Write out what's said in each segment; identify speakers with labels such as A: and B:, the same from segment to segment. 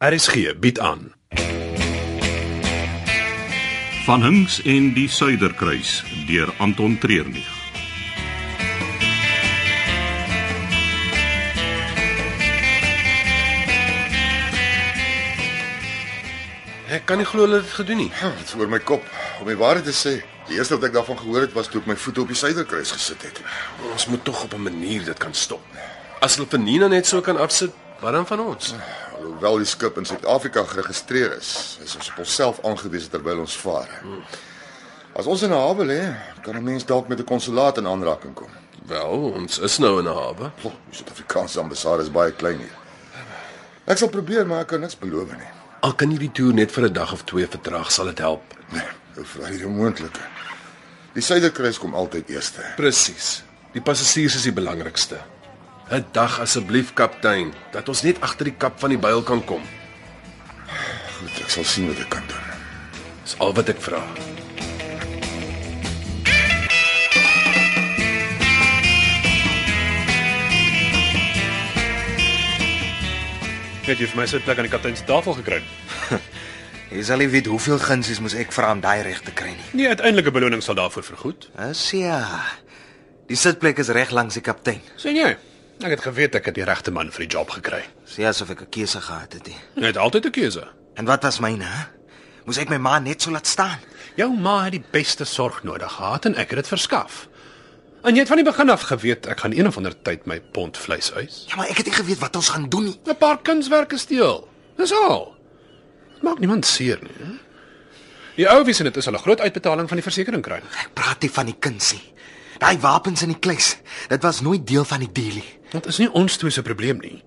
A: RSG bied aan.
B: Van Hinks en die Suiderkruis deur Anton Treurnig.
A: Ek kan nie glo hulle het dit gedoen nie.
C: Ja, dit is oor my kop. Om die waarheid te sê, die eerste wat ek daarvan gehoor het was toe ek my voete op die suiderkruis gesit het.
A: Ons moet tog op 'n manier dit kan stop. As hulle vir Nina net so kan afsit, wat dan van ons?
C: Alhoewel die skip in Suid-Afrika geregistreer is, is ons op onsself aangewese terwyl ons vaar. As ons in 'n hawe lê, kan 'n mens dalk met 'n konsulaat in aanraking kom.
A: Wel, ons is nou in 'n hawe.
C: Ploh, die Suid-Afrikaanse ambassade is baie klein hier. Ek sal probeer, maar ek kan niks beloof nie.
A: Al kan hierdie toer net vir 'n dag of twee vertraag, sal dit help.
C: Nee, hoe vra jy die moontlike? Die suiderkruis kom altyd eerste.
A: Presies. Die passasiers is die belangrikste. 'n Dag asseblief, kaptein, dat ons net agter die kap van die byl kan kom.
C: Goed, ek sal sien wat ek kan doen.
A: Dis al wat ek vra.
D: Net jy vir my sit plek aan die kaptein se tafel gekry.
E: Jy sal nie weet hoeveel gunsies moes ek vra om daai reg te kry nie.
D: Nee, uiteindelike beloning sal daarvoor vergoed.
E: As ja. Die sitplek is reg langs die kaptein.
D: Sien jy? Ek het geweet ek het die regte man vir die job gekry.
E: Sê asof ek 'n keuse gehad het. He.
D: Jy het altyd 'n keuse.
E: En wat was myne? hè? Moes ek my ma net so laat staan?
D: Jou ma het die beste sorg nodig gehad en ek het dit verskaf. En jy het van die begin af geweet ek gaan een of ander tyd my pond vleis eis.
E: Ja, maar ek het nie geweet wat ons gaan doen nie.
D: 'n Paar kunswerke steel. Dis al. Dit maak niemand seer nie. hè? Die ou wie sien dit is al 'n groot uitbetaling van die versekering kry.
E: Ek praat nie van die kunsie. Daai wapens in die kluis, dit was nooit deel van die deal nie.
D: Dit is nie ons twee se probleem nie.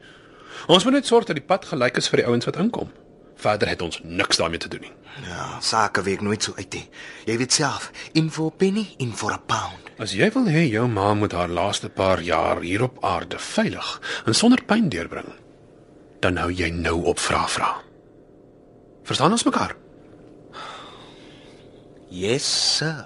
D: Ons moet net sorg dat die pad gelyk is vir die ouens wat inkom. Verder het ons niks daarmee te doen nie.
E: Ja, sake werk nooit so uit nie. Jy weet self, in for a penny, in for a pound.
D: As jy wil hê jou ma moet haar laaste paar jaar hier op aarde veilig en sonder pyn deurbring, dan hou jy nou op vra vra. Verstaan ons mekaar?
E: Yes, sir.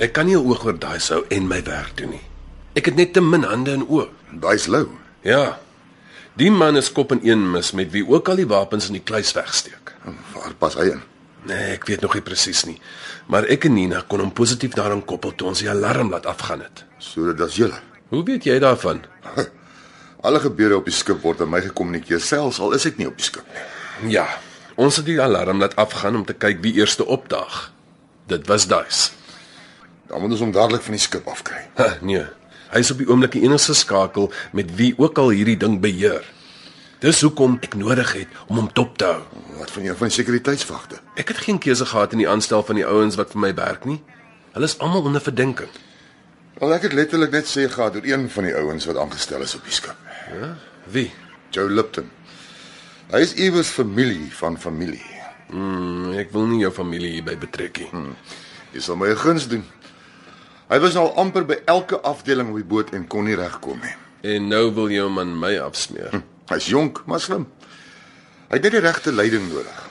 A: Ek kan nie 'n oog oor daai sou en my werk doen nie. Ek het net te min hande en oë.
C: Daai's Lou.
A: Ja. Die man is kop in een mis met wie ook al die wapens in die kluis wegsteek.
C: Waar pas hy in?
A: Nee, ek weet nog nie presies nie, maar ek en Nina kon hom positief daaraan koppel toe ons die alarm laat afgaan het.
C: So dit is julle.
A: Hoe weet jy daarvan?
C: Alle gebeure op die skip word aan my gekommunikeer selfs al is ek nie op die skip nie.
A: Ja, ons het die alarm laat afgaan om te kyk wie eerste opdaag. Dit was Duis.
C: Dan moet ons hom dadelik van die skip afkry.
A: Ha, nee. Hy is op die oomblik die enigste skakel met wie ook al hierdie ding beheer. Dis hoekom ek nodig het om hom dop te hou.
C: Wat van jou van die sekuriteitswagte?
A: Ek het geen keuse gehad in die aanstel van die ouens wat vir my werk nie. Hulle is almal onder verdenking.
C: Wel ek het letterlik net sê gehad deur een van die ouens wat aangestel is op die skip.
A: Wie?
C: Joe Lipton. Hy is iewers familie van familie.
A: Hmm, ek wil nie jou familie hierby betrek nie.
C: Jy sal my 'n guns doen. Hy was al amper by elke afdeling op die boot en kon nie regkom nie.
A: En nou wil jou man my afsmeer. Hm.
C: Hy's jonk, maar slim. Hy het net die regte leiding nodig.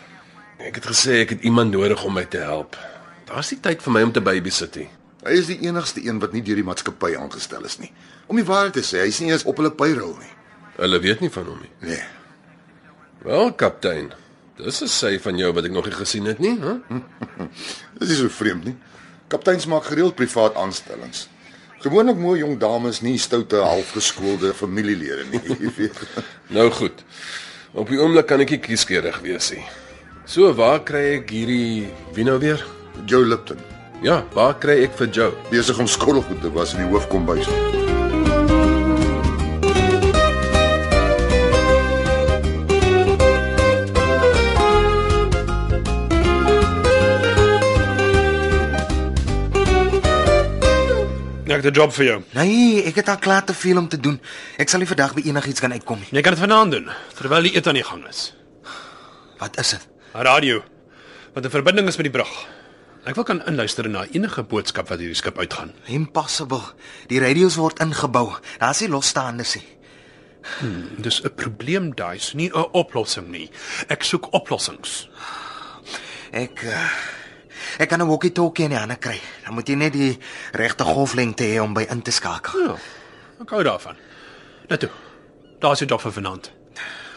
A: Ek het gesê ek het iemand nodig om my te help. Daar's nie tyd vir my om te babysit nie.
C: Hy is die enigste een wat nie deur die maatskappy aangestel is nie. Om die waarheid te sê, hy's nie eens op hulle payroll nie.
A: Hulle weet nie van hom nie.
C: Nee.
A: Wel, kaptein. Dis 'n sy van jou wat ek nog nie gesien het nie, hè? Hm?
C: Dis nie so vreemd nie. Kapteins maak gereeld privaat aanstellings. Gewoonlik mooi jong dames nie stoute halfgeskoolde familielede nie, jy weet.
A: Nou goed. Op die oomblik kan ek nie kieskeurig wees nie. So waar kry ek hierdie wie nou weer?
C: Joe Lipton
A: Ja, waar kry ek vir Joe?
C: besig om skottelgoed te was in die hoofkombuis.
D: Ek het 'n job vir jou.
E: Nee, ek het al klaar te veel om te doen. Ek sal nie vandag by enigiets kan uitkom nie.
D: Jy kan dit vanaand doen terwyl die eet aan die gang is.
E: Wat is dit?
D: 'n Radio wat 'n verbinding is met die brug. Ek wil kan inluister na enige boodskap wat hierdie skip uitgaan.
E: Impossible. Die radio's word ingebou. Daar's nie losstaandes nie.
D: Dis 'n probleem daai, is nie 'n oplossing nie. Ek soek oplossings.
E: Ek uh, Ek kan 'n walkie-talkie in die hande kry. Dan moet jy net die regte golflengte hê om by in te skakel.
D: Ja. Ek hou daarvan. Net toe. Daar's jou dop vir vanaand.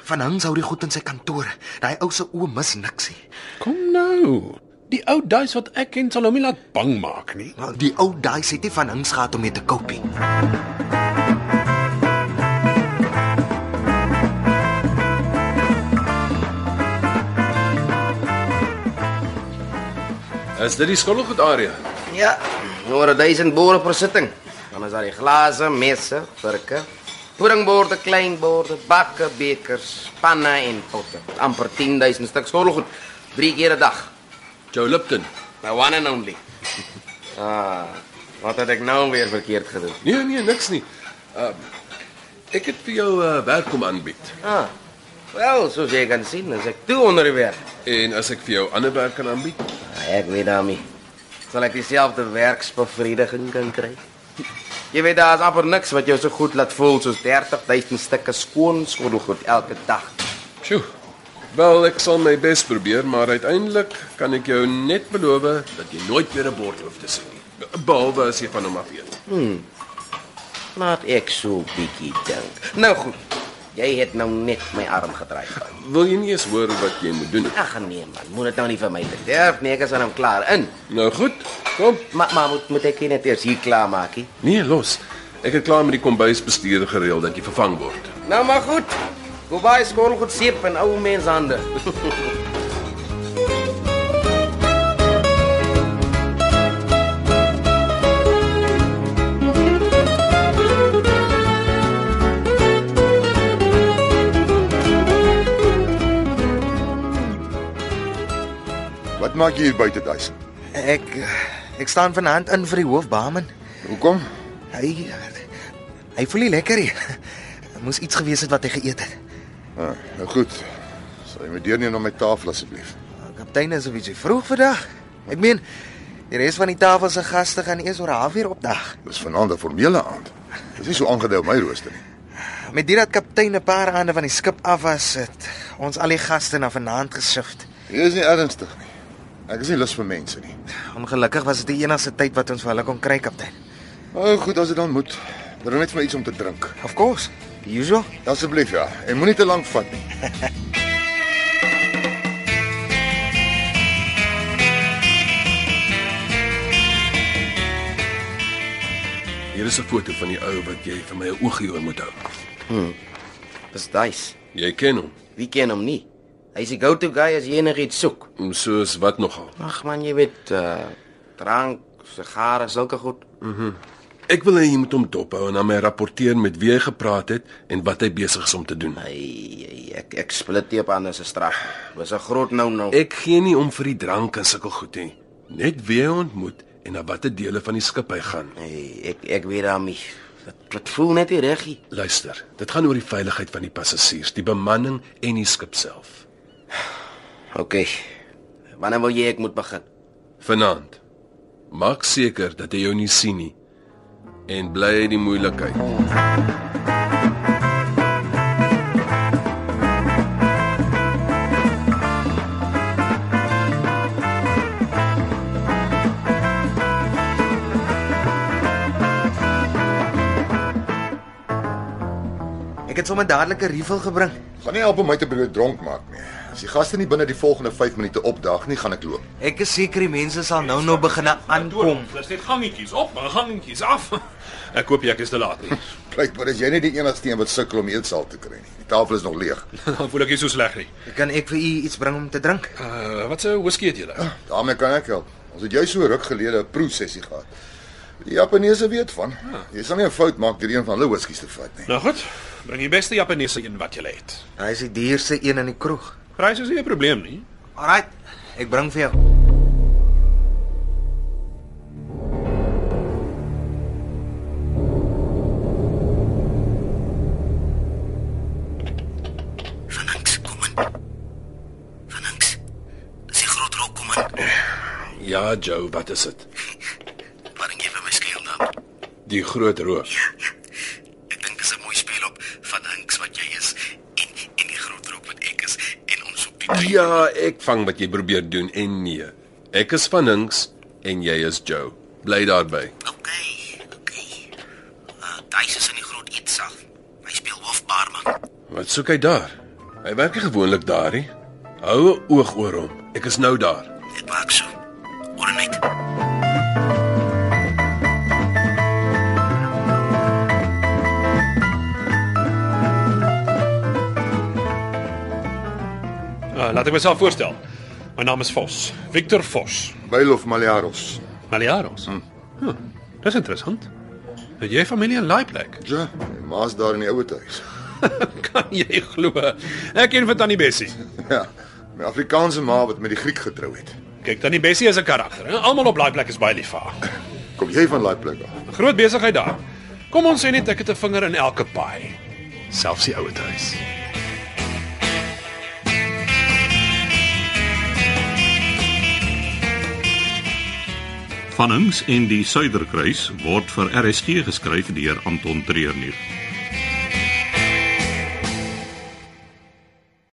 E: Van Hings hou die goed in sy kantoor. Daai ou se oë mis niks nie.
D: Kom nou. Die ou duis wat ek ken sal hom nie laat bang maak nie.
E: Wel, Die ou daai sê dit van Hings gehad om mee te koop nie.
A: Is dit die skottelgoed area?
F: Ja, oor 1000 boere per sitting. Dan is daar die glase, messe, kurke, puddingborde, kleinborde, bakke, bekers, panne en potte. amper 10000 stuk skottelgoed. 3 keer 'n dag.
A: Jou Lipton.
F: My one and only. Ah, wat het ek nou weer verkeerd gedoen?
A: Nee nee, niks nie. Ehm uh, ek het vir jou uh, werk kom aanbied.
F: Ah. Wel, soos jy kan sien, is ek toe onder die werk.
A: En as ek vir jou ander werk kan aanbied,
F: Ah, Ek weet daarmee. Sal ek dieselfde werksbevrediging kan kry? Jy weet daar's amper niks wat jou so goed laat voel soos 30000 stukke skoon skottelgoed elke dag.
A: Sjoe. Wel, ek sal my bes probeer, maar uiteindelik kan ek jou net beloof dat jy nooit weer 'n bord hoef te sien nie. Be- Behalwe as jy van hom af eet.
F: Laat ek so bietjie dink. Nou goed. Jy het nou net my arm gedraai.
A: Wil jy nie eens hoor wat jy moet doen nie?
F: Ag nee man, moet dit nou nie vir my bederf nie. Ek is aan hom klaar in.
A: Nou goed, kom.
F: Maar maar moet moet ek nie net eers hier klaar maak nie.
A: Nee, los. Ek het klaar met die kombuisbestuurder gereël dat jy vervang word.
F: Nou maar goed. Hoe baie skool goed seep en ou menshande.
C: Wat maak jy hier buite duisend?
E: Ek eh, ek staan vanaand in vir die hoofbaman.
C: Hoekom?
E: Hy eh, hy voel nie lekker nie. Moes iets gewees het wat hy geëet het.
C: Ah, nou goed. Sal jy my deurneem na my tafel asseblief?
E: Eh, Kaptein is 'n bietjie vroeg vandag. Ek meen, die res van die tafel se gaste gaan eers oor 'n halfuur opdag.
C: Dis vanaand 'n formele aand. Dis nie so aangedui op my rooster nie.
E: Met dit dat kaptein 'n paar aande van die skip af was, het ons al die gaste na vanaand geshift.
C: Jy is nie ernstig nie. Ek is nie lus vir mense nie.
E: Ongelukkig was dit die enigste tyd wat ons vir hulle kon kry, kaptein.
C: Nou goed, as dit dan moet. Bring net vir my iets om te drink.
E: Of course, the usual.
C: Asseblief ja, en moenie te lank vat nie.
A: Hier is 'n foto van die ou wat jy vir my 'n oogie oor moet hou.
F: Dis duis.
A: Jy ken hom,
F: Wie ken hom nie? Hy's die go-to guy as jy enigiets soek.
A: soos wat nogal.
F: Ag man, jy weet uh drank, sigare, sulke goed.
A: Ek wil hê jy moet hom dophou en aan my rapporteer met wie hy gepraat het en wat hy besig is om te doen.
F: Ai, ai, ek ek split nie op ander se straf. Was 'n groot nou nou.
A: Ek gee nie om vir die drank en sulke goed nie. Net wie hy ontmoet en na watter dele van die skip hy gaan.
F: Ai, ek ek weet daarmee. Dit dit voel net nie reggie.
A: Luister, dit gaan oor die veiligheid van die passasiers, die bemanning en die skip self.
F: OK. Wanneer wil jy ek moet begin?
A: Vanaand, maak seker dat hy jou nie sien nie en bly uit die moeilikheid.
E: Ek het sommer dadelik 'n refill gebring.
C: Gaan nie help om my te bloed dronk maak nie. As die gaste nie binne die volgende 5 minute opdaag nie, gaan ek loop.
E: Ek is seker die mense sal nou nou begin aankom.
D: Dis net gangetjies op, en gangetjies af. Ek hoop jy ek is te laat nie.
C: Blykbaar is jy nie die enigste een wat sukkel om die eetsaal te kry nie. Die tafel is nog leeg.
D: Dan voel ek nie so sleg nie.
E: Kan ek vir u iets bring om te drink?
D: Uh, wat 'n whisky het julle?
C: Daarmee kan ek help. Ons het jy so ruk gelede 'n proesessie gehad. Die Japaneese weet van. Jy sal nie 'n fout maak deur een van hulle whiskies te vat nie.
D: Nou goed, bring die beste Japaneese een wat jy het.
E: Hy is die duurste een in die kroeg.
D: Prys is nie 'n probleem nie.
E: Alraight, ek bring vir jou.
F: Van niks kom in. Van niks. Dis 'n groot rol kom in.
A: Ja, Joe, wat is dit?
F: Wat dink jy van my skeel dan?
A: Die groot roof.
F: Ek dink dis 'n mooi spel op van Hinks wat jy is en en die groot rol wat ek is en ons op die
A: Ja, ek vang wat jy probeer doen en nee. Ek is van Hinks en jy is Joe. Bly daarby.
G: OK, OK. Uh, Daisy is in die groot eetsaal. Hy speel hoofbaarman.
A: Wat soek hy daar? Hy werk nie gewoonlik daar nie. Hou 'n oog oor hom. Ek is nou daar.
G: Ek maak so. Hoor net.
D: Uh, laat ek myself voorstel. My naam is Vos, Victor Vos,
C: Bylof Maliaros.
D: Maliaros. Hmm. Dis interessant. Het jy familie in Laiplek?
C: Ja, my ma's daar in die ouer huis.
D: kan jy glo? Ek ken vir Tannie Bessie.
C: Ja. My Afrikaanse ma wat met die Griek getrou het.
D: Kyk, Tannie Bessie is 'n karakter. hè? Almal op Laiplek is baie lief vir haar.
C: Kom jy van daai plek af?
D: Groot besigheid daar. Kom ons sê net ek het 'n vinger in elke paai. Selfs die ouer huis.
B: Van Hinks en die Suiderkruis word vir RSG geskryf deur Anton Treurnig.